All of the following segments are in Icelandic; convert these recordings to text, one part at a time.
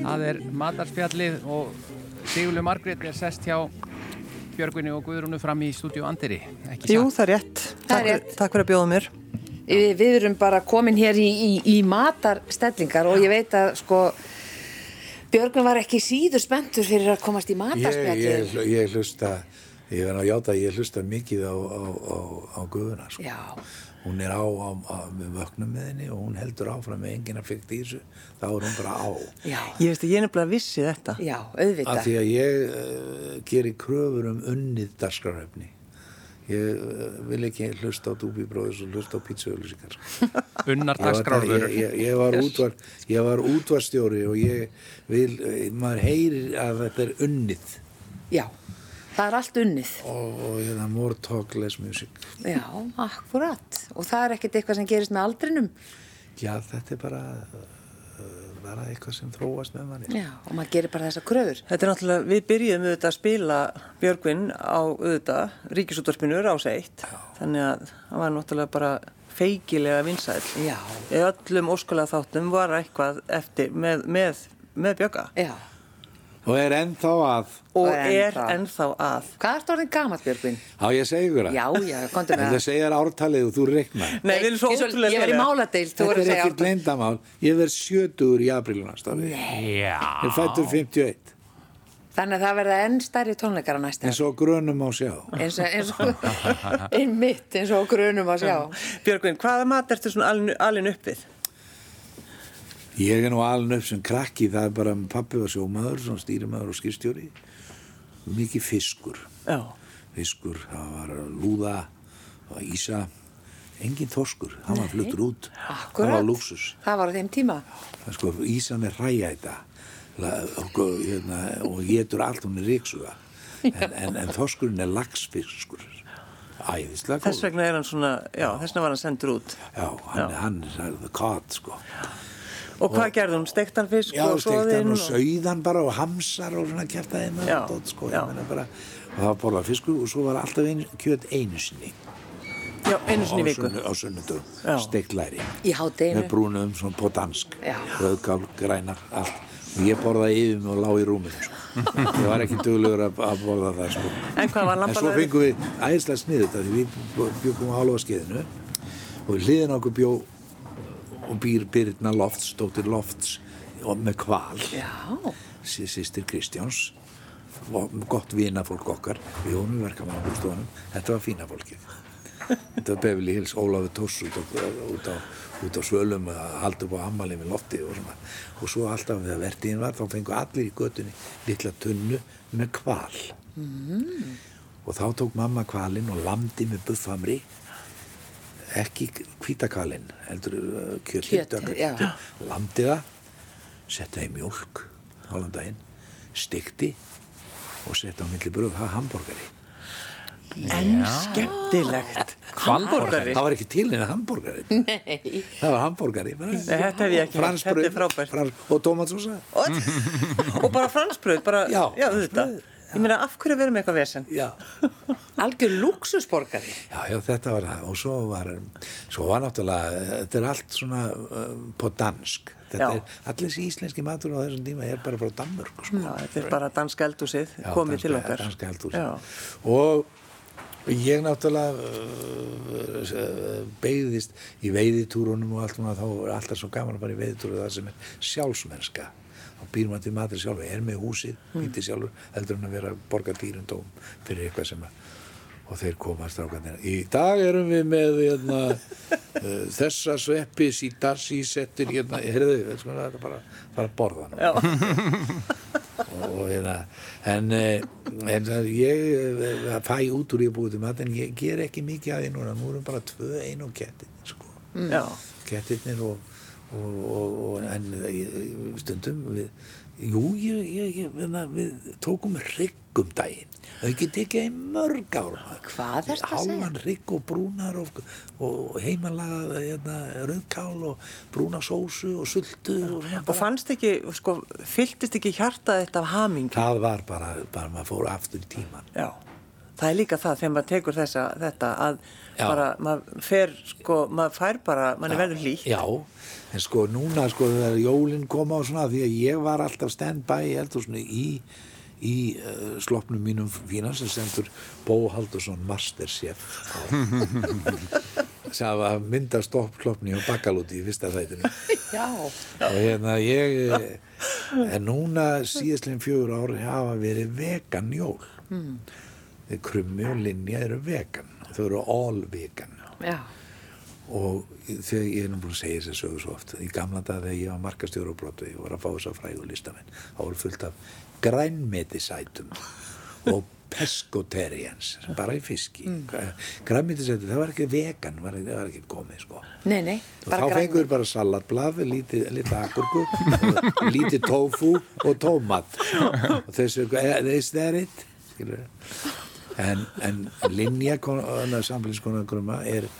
Það er matarspjallið og Sigurlu Margrét er sest hjá Björgvinni og Guðrúnu fram í stúdíu Andiri. Ekki Jú, satt? það er rétt. Það er Takk- rétt. Takk fyrir að bjóða mér. Við, við erum bara komin hér í, í, í matarstellingar og ég veit að sko Björgun var ekki síður spenntur fyrir að komast í ég, matarspjallið. ég, hlu- ég hlusta ég verð að játa að ég hlusta mikið á, á, á, á guðuna sko. Já. hún er á, á, á með vöknum með henni og hún heldur áfram með enginn að fyrkt í þessu þá er hún bara á Já, Ég veist að ég er nefnilega vissi þetta. já, af auðvitað. því að ég uh, geri kröfur um unnið dagskrarhefni ég uh, vil ekki hlusta á dúbibróðis og hlusta á pítsuölusingar Unnar Ég var- dagskrárvörur. ég, ég, ég, var útvar, ég var útvarstjóri og ég vil, eh, maður heyrir að þetta er unnið Já, það er allt unnið. og, og hérna, more talk, less music Já, akkurat. Og það er ekkert eitthvað sem gerist með aldrinum. Já, þetta er bara uh, bara eitthvað sem þróast með manni Já, og maður gerir bara þessa kröfur. Þetta er náttúrulega, við byrjum auðvitað að spila Björgvin á auðvitað Ríkisútvarpinu rás eitt. Þannig að hann var náttúrulega bara feikilega vinsæl. Já. Í öllum óskulega þáttum var eitthvað eftir með, með, með Björga. Já. og er ennþá að Og Og er ennþá. ennþá að. Hvað ertu orðin gamalt, Björgun? á ég segi ykkur að Já, já, komdu með þetta það. segir ártalið og þú reiknar Nei, við erum svo Ég ótrúlega Ég var í lélega. máladeild, þú þetta voru að er segja ekkert leyndamál ég verð sjötugur í aprílu næsta ári ég Já. er fættur 51 Þannig að það verða enn stærri tónleikar á næsta. eins og grönum má sjá eins og, eins og einmitt, eins og grunum að sjá Björgvin, hvaða mat ertu svona alin, alin upp við? ég er nú alveg upp sem krakki það er bara pappi var sjómaður svona stýrimaður og skýrstjóri mikið fiskur Já. fiskur, það var lúða það var ísa engin þorskur, hann var fluttur út það var Akkurat. lúksus það var á þeim tíma Það er sko, Ísan er hræja þetta La- og, og- hérna, og getur allt hún er ríksuga en, en, en þoskurinn er lagsfiskur æðislega Þess góð vegna er hann svona, já, þess vegna var hann sendur út. já, hann, hann er það- the cod sko Og hvað gerði hún? Steikt hann fisk já, og steikt hann svoðinn? og sauðan bara og hamsar og svona kjartaði með Já, dót, sko, já. ég meina bara, og það var borðað fiskur og svo var alltaf ein, kjöt einu sinni Já, einu sinni í á, viku. sunnu, á sunnudum, Já. steikt læri í hádeginu með brúnum svona på dansk Já. rauðgál, grænar, allt og ég borðaði yfir mig og lá í rúmið sko. ég var ekki duglegur að, að borða það sko. En hvað var en svo lambalaugur? fengum við æðislega sniðu þetta því við bjó- bjuggum á hálfa skeiðinu og við hliðin á okkur bjó og býr Birna Lofts, dóttir Lofts og með kval já, sí- sýstir Kristjáns og gott vinafólk okkar við honum verkamann á bústofunum þetta var fína fólkið þetta var Beverly Hills, Ólafur Tóss út á, út á, út á svölum að halda upp á ammali með lofti og, svona. og svo alltaf þegar vertiðin var þá fengu allir í götunni litla tunnu með kval og þá tók mamma kvalinn og landi með buffamri ekki hvítakvalinn heldur uh, kjötið Kjötið, dökkar já. kjötið. lamdi það setta í mjólk hálfum daginn, stikti og setta á milli bröð, það er hambúrgari En skemmtilegt. Hamburgari. það var ekki til neina hambúrgari nei það var hambúrgari bara. Nei, þetta hef ég ekki heyrt. Þetta er Fransbrauð, frábært. frans, og tómatsósa Og, og bara fransbröð, bara, já, Já, auðvitað. Ég meina, af hverju verðum við eitthvað vesen? já. algjör luxusborgari Já, já, þetta var það og svo var, svo var náttúrulega, þetta er allt svona um, på dansk. Þetta Já. er, allir þessi íslenski matur á þessum tíma er bara frá Danmörku, sko. Já, þetta er bara danska eldhúsið, Já, komið danska- til okkar. Danska heldur. Já. Og ég náttúrulega uh, beigðist í veiðitúrunum og allt svona, þá er alltaf svo gaman að fara í veiðitúru það sem er sjálfsmennska. Þá býr maður til matur sjálfur, er með húsið, Mm. býtir sjálfur, heldur hann að vera að borga dýrundóm fyrir eitthvað sem að og þeir koma strákanir. Í dag erum við með hérna, uh, þessa sveppi sítarsi settir hérna, heyrðu, þetta sko, það er bara að fara að borða nú Já, og, og hérna en, eh, en það, ég eh, fæ út úr ég búið til mat en ég ger ekki mikið að því núna nú erum bara tvö ein og kettirnir sko. já, kettirnir og, og, og, og en eh, stundum við Jú, ég, ég, ég, menna, við tókum hryggum daginn. Það ekki tekið í mörg ára. Hvað ertu að segja? Hálfan hrygg og brúnar og, og heimalagað hérna, rauðkál og brúna sósu og sultu. Og, svona Og bara- fannst ekki, sko, fylltist ekki hjartað þetta af hamingi? Það var bara, bara maður fór aftur í tíman. Já. Það er líka það þegar maður tekur þessa, þetta að Já. bara, maður fer, sko, maður fær bara, mann er verður hlýtt. Já, en sko núna sko þegar jólinn koma og svona því að ég var alltaf stand-by í eldhúsinu í, í uh, sloppnum mínum fína sem sendur Bó Haldursson Masterchef sem var mynda stoppkloppni og bakalúti í fyrsta þættinu Já. og hérna ég eh, en núna síðastlegin fjögur ári hafa verið vegan jól mm. þeir krummi og linja eru vegan þau eru all vegan Já. og þegar ég er nú búin að segja þess að sögur svo oft í gamla dag þegar ég var markastjóru og brotu ég var að fá þess að frægu listamenn þá voru fullt af grænmetisætum og pescoterians bara í fiski mm. grænmetisætum, það var ekki vegan var, það var ekki komið sko Nei, nei. og þá fengur bara salatblað lítið, lítið akurku lítið tófu og tómat og þessu, is that it? Skilur. en, en linja samfélagskona grumma er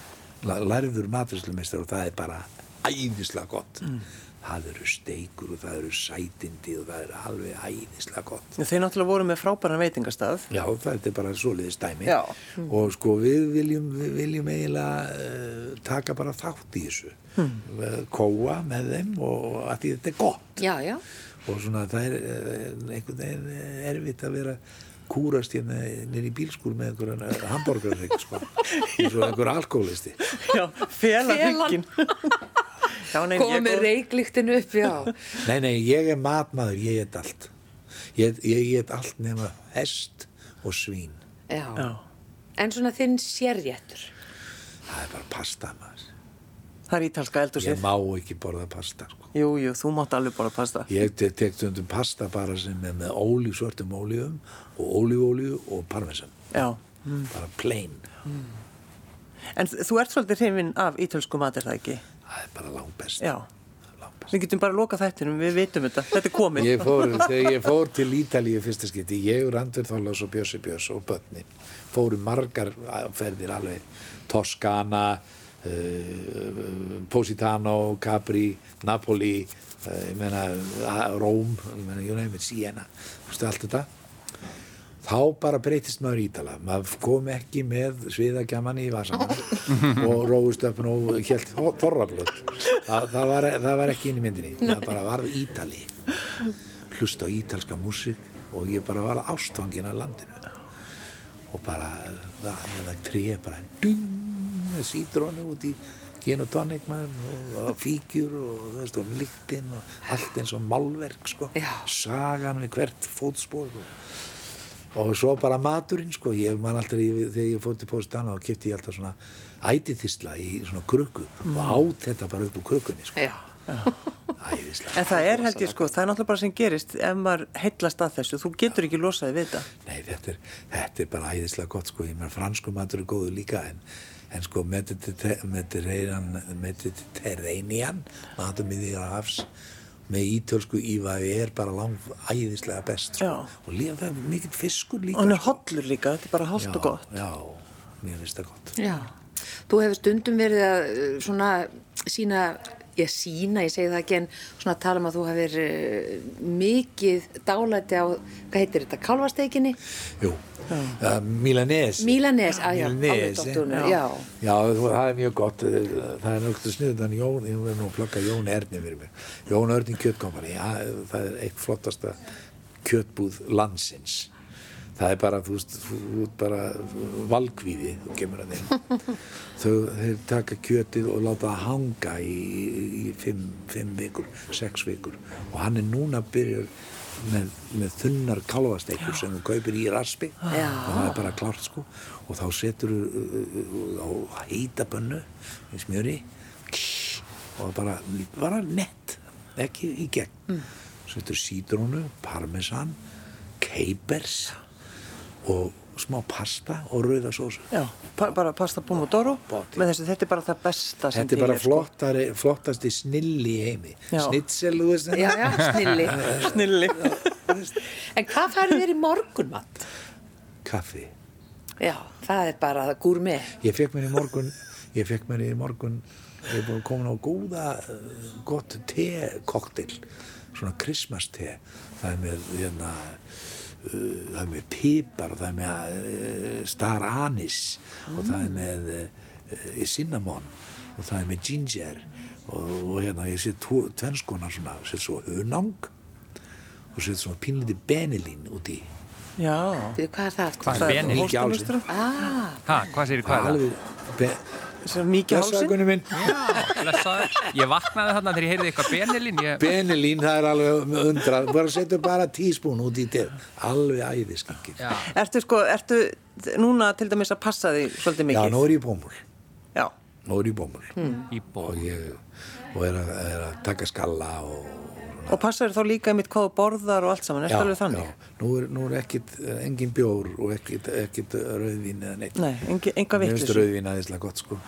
la- lærður maturinslumistar og það er bara æðislega gott það eru steikur og það eru sætindi og það eru alveg æðislega gott Þau náttúrulega voru með frábæran veitingastað. Já, þetta er bara svoleiðis dæmi Já. og sko við viljum, við viljum eiginlega uh, taka bara þátt í þessu mm. kóa með þeim og að því þetta er gott Já, já. og svona það er uh, einhvern veginn erfitt að vera kúrast hérna nýri bílskúr með einhverjan hambúrgarrygg sko, eins og einhver alkoholisti Já, fela Felan. hrygginn. Já, nei, Komum ég með reiklíktinu upp, já. Nei, nei, ég er matmaður, ég get allt ég, ég get allt nema hest og svín Já. Já. En svona þinn sérjættur. það er bara pasta maður Það er ítalska ég eldúsið. má ekki borða pasta sko Jú, jú, þú mátt alveg bara pasta. Ég te- tek stundum pasta bara sem er með ólíu, svörtum ólíum og ólíuolíu og parmesan. Já. Bara plain. En þú ert svolítið hrifin af ítalsku mat, er það ekki? Það er bara langbest. Já. langbest. Við getum bara að loka þættinum, við vitum þetta. Þetta er komið. Ég fór, þegar ég fór til Ítalíu fyrsta skipti, ég, Randver Þorlás og Bjössi Björs og börnin, fóru margar ferðir alveg, Toskana, uh, Positano, Capri, Napoli, uh, ég meina, uh, Róm, ég meina, ég nefnir Siena, þú veist allt þetta. þá bara breytist maður ítala maður kom ekki með sviðagjaman í vasanum og róustöfn og helt þorrarlöf það, það, var, það var ekki inn í myndinni það bara varð ítali hlusta á ítalska músík og ég bara var ástfangin af landinu og bara það, það tré bara dung með sítrónu út í gin og tonic mann og, og fíkjur og, þú veist, og lyktinn og allt eins og málverk sko. Já. sagan við hvert fótspor og og svo bara maturinn sko ég man alltaf ég, þegar ég fór til Póstana og kipti ég alltaf svona ætithysla í svona krukku og át þetta bara upp úr krukkunni sko Já. æðislega En það er held ég sko, það er náttúrulega bara sem gerist ef maður heillast að þessu, þú getur ekki losaði við þetta. Nei, þetta er, þetta er bara æðislega gott sko, ég meina fransku matur er góður líka en, en sko mediterranean matur miðið á hafs með ítölsku ívafi er bara lang æðislega best sko. Já. og líka það er mikill fiskur líka Og hann er sko. hollur líka, þetta er bara hollt og Já, gott. Já, mér finnst það gott Já. Þú hefur stundum verið að uh, svona sína, ég sína, ég segi það ekki, en svona tala um að þú hefur uh, mikið dálæti á, hvað heitir þetta, kálvasteikinni? Jú, uh, Milanese. Mílanes, á ah, já, alveg Milanese. dóttunum, Já, já. þú- það er mjög gott. eh, Það er náttúrulega sniðan Jón, ég verður nú að plugga Jón Erni fyrir mér. Jón Erni kjötkompani, ja, það er eitt flottasta kjötbúð landsins. Það er bara, þú veist, þú þú ert bara valkvíði, þú kemur að þeim. Þau, þeir taka kjötið og láta það hanga í, í fimm, fimm vikur, sex vikur. Og hann er núna byrjur með, með þunnar kalvasteikur sem þú kaupir í raspi Já. og það er bara klárt sko og þá setur uh, þú á heita bönnu í smjöri og bara, bara nett ekki í gegn setur sítrónu, parmesan keipers og smá pasta og rauða sósu Já, pa bara pasta pomodoro Bóti. með þessu, þetta er bara það besta sem Þetta er bara sko. flottari, flottasti snilli í heimi Já. Snitsel, þú veist Já, já, snilli. Snilli. En hvað færðu þér í morgunmatt? Kaffi Já, það er bara gúr með. Ég fekk mér í morgun Ég fekk mér í morgun Ég er búin komin á góða eh, gott te koktel Svona Christmas te Það er með hérna Uh, það er með pipar og það er með uh, star anis og það er með uh, cinnamon og það er með ginger og, og hérna ég sé tvennskonar svona, set svo hunang og set svona pínliti benilín út í Já, Þú, hvað er það? aftur? Hvað er er benil? Ekki alls. hóstamöstra. Ah, Ha, hvað sér, hvað er það? alveg be- Svo mikið blessaður hálsin Gunni minn Blessaður. Ég vaknaði þarna þegar ég heyrði eitthvað benilinn. Ég... Benilín, það er alveg undrað bara setur bara tíspún út í teð alveg æðiskingir Já. Ertu sko, ertu núna til dæmis að passa því svolítið já, mikið? Hmm. nú er ég í bómul Já, nú er ég í bómul Í ból. og ég og er, að, er að taka skalla og og passar þá líka mitt hvað þú borðar og allt saman, ertu alveg þannig? já. Nú er, nú er ekkit, engin bjór og ekkit, ekkit rauðvín eða neitt Nei, engi, enga Hmm. Mér finnst vitlis rauðvín aðeinslega gott sko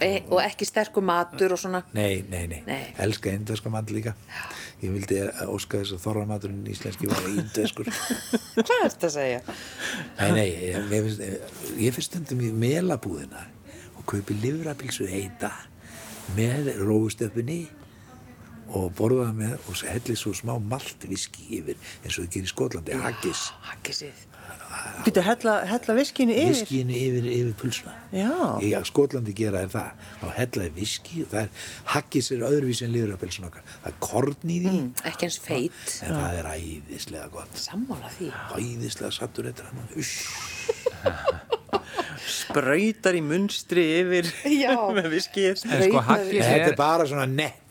e, og ekki sterkur matur og svona. Nei, nei, nei, Nei. elska indverska mat líka Ég vildi eh, óska þess að þorramaturinn íslenski var indverskur Hvað er þetta að segja? Nei, nei, ég, ég, finnst, ég, ég finnst stundum í melabúðina og kaupi livrapilsu heita með róustöpunni og borða það með og helli svo smá maltviski yfir eins og þau gerir í Skotlandi, haggis Hakkisíð. Býtu, hella, hella viskinu yfir? viskinu yfir, yfir pulsuna Já. í að Skotlandi gera er það þá hellaði viski og það er haggis er öðruvísi en livrapilsun okkar það er korn í því Mm. Ekki eins feit. en það er æðislega gott Sammála því. æðislega sattur þetta uss Spröytar í munstri yfir Já. með En viskið sko, Rauður- haggis Nei, þetta er, er bara svona nett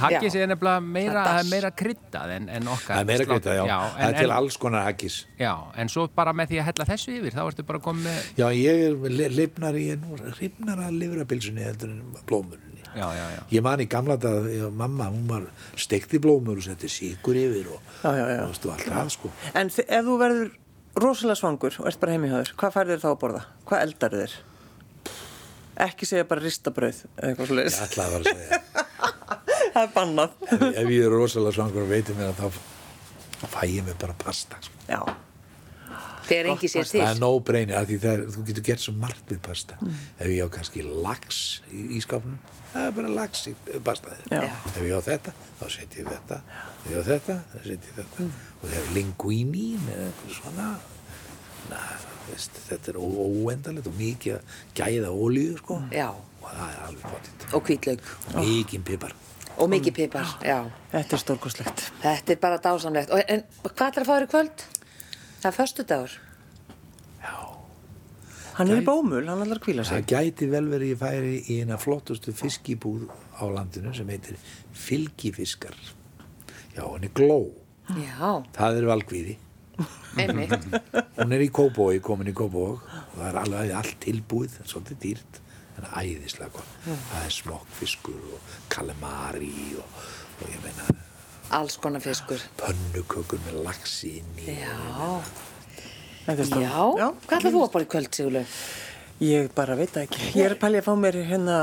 haggis Já. er nefnilega meira, Það er það er meira kryddað en, en okkar. það er meira greitt já, það en, er til en, alls konar haggis já, en svo bara með því að hella þessu yfir, þá ertu bara komið með... já, ég er le- lifnar í nú hrifnar að lifrabilsunni heldur en blómurinni Já, já, já. ég man í gamla dag, ég, mamma hún var stekti blómur og setti síkur yfir og, Já, já, já. og stu alltaf sko En þi- ef þú verður rosalega svangur og ert bara heim í höður, hvað færðu þér þá að borða? Hvað eldar þér? Ekki segja bara ristabrauð eða eitthvað svo leiðis. alltaf var að segja, Það er bannað. ef ef ég er rosalega svangur og veitir mér að þá fæ ég mér bara pasta sko. Já, Þegar engi sér til. Mm. það er nóg breynir af því það, er- þú getur gert svo margt við pasta ef ég á kannski lax í, í skápnum það er bara lax í pastaði Já. ef ég á þetta, þá setjum ég þetta ef ég á þetta, þá setjum ég þetta og það er linguínín eða eitthvað svona na, það, veist, þetta er ó- óendanlegt og mikið að gæða ólíu sko Já. og það er alveg pottitt Og hvítlaug. og mikið pipar Og mikið pipar. Já. þetta er stórkoslegt. Þetta er bara dásamlegt. Og, en hvað ætlar að fá þér í kvöld? Það er föstudagur. Hann er í bómul, hann ætlar að kvíla sig. það gæti vel verið ég færi í eina flottustu fiskibúð á landinu sem heitir fylgifiskar já, henni gló Já, Það er valgvíði. einmitt. Hún er í Kóbói, komin í Kóbói og það er alveg allt tilbúið, svolítið dýrt, en æðislega gott. Það er smokkfiskur og kalamari og, og ég meina Alls konar fiskur. pönnukökur með laxi inn í. Já. Þetta er Já. stór- Hvað ætlar þú að bóra í kvöld, Sigurlaug? Ég bara veit það ekki. Ég er að pæli að fá mér hérna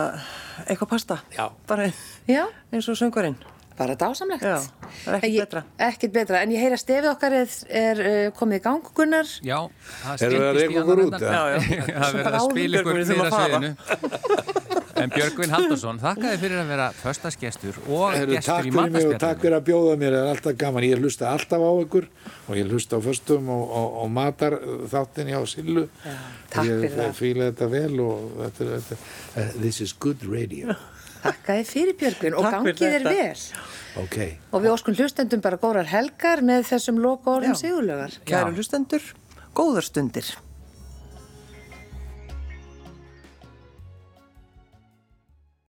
eitthvað pasta. Já. Bara Já. eins og söngurinn. Bara dásamlegt. Já, það er ekkert En ég- betra. Ekkert betra. En ég heyra stefið okkar er, er uh, komið í gang, Gunnar. Já, það Erum við styttist að í reka annað okkur út, endann. eða? Já, Það verður að spila ykkur Björgvin, við niður þurfum að að sviðinu. En Björgvin Haldursson, þakkaði fyrir að vera föstasgestur og Heru, gestur takk í fyrir mig og takk matarspjallinu. fyrir að bjóða mér, það er alltaf gaman. Ég hlusta alltaf á ykkur og ég hlusta á föstum og, og, og matar þáttin hjá Sillu. Já, takk fyrir Ég það. fíla þetta vel og þetta, er- þetta, uh, this is good radio. Þakkaði fyrir Björgvin og Takk fyrir gangið þér þetta. vel. Ok. Og við óskum hlustendum bara górar helgar með þessum loka orðum Sigurlaugar. Kæru hlustendur, góðar stundir.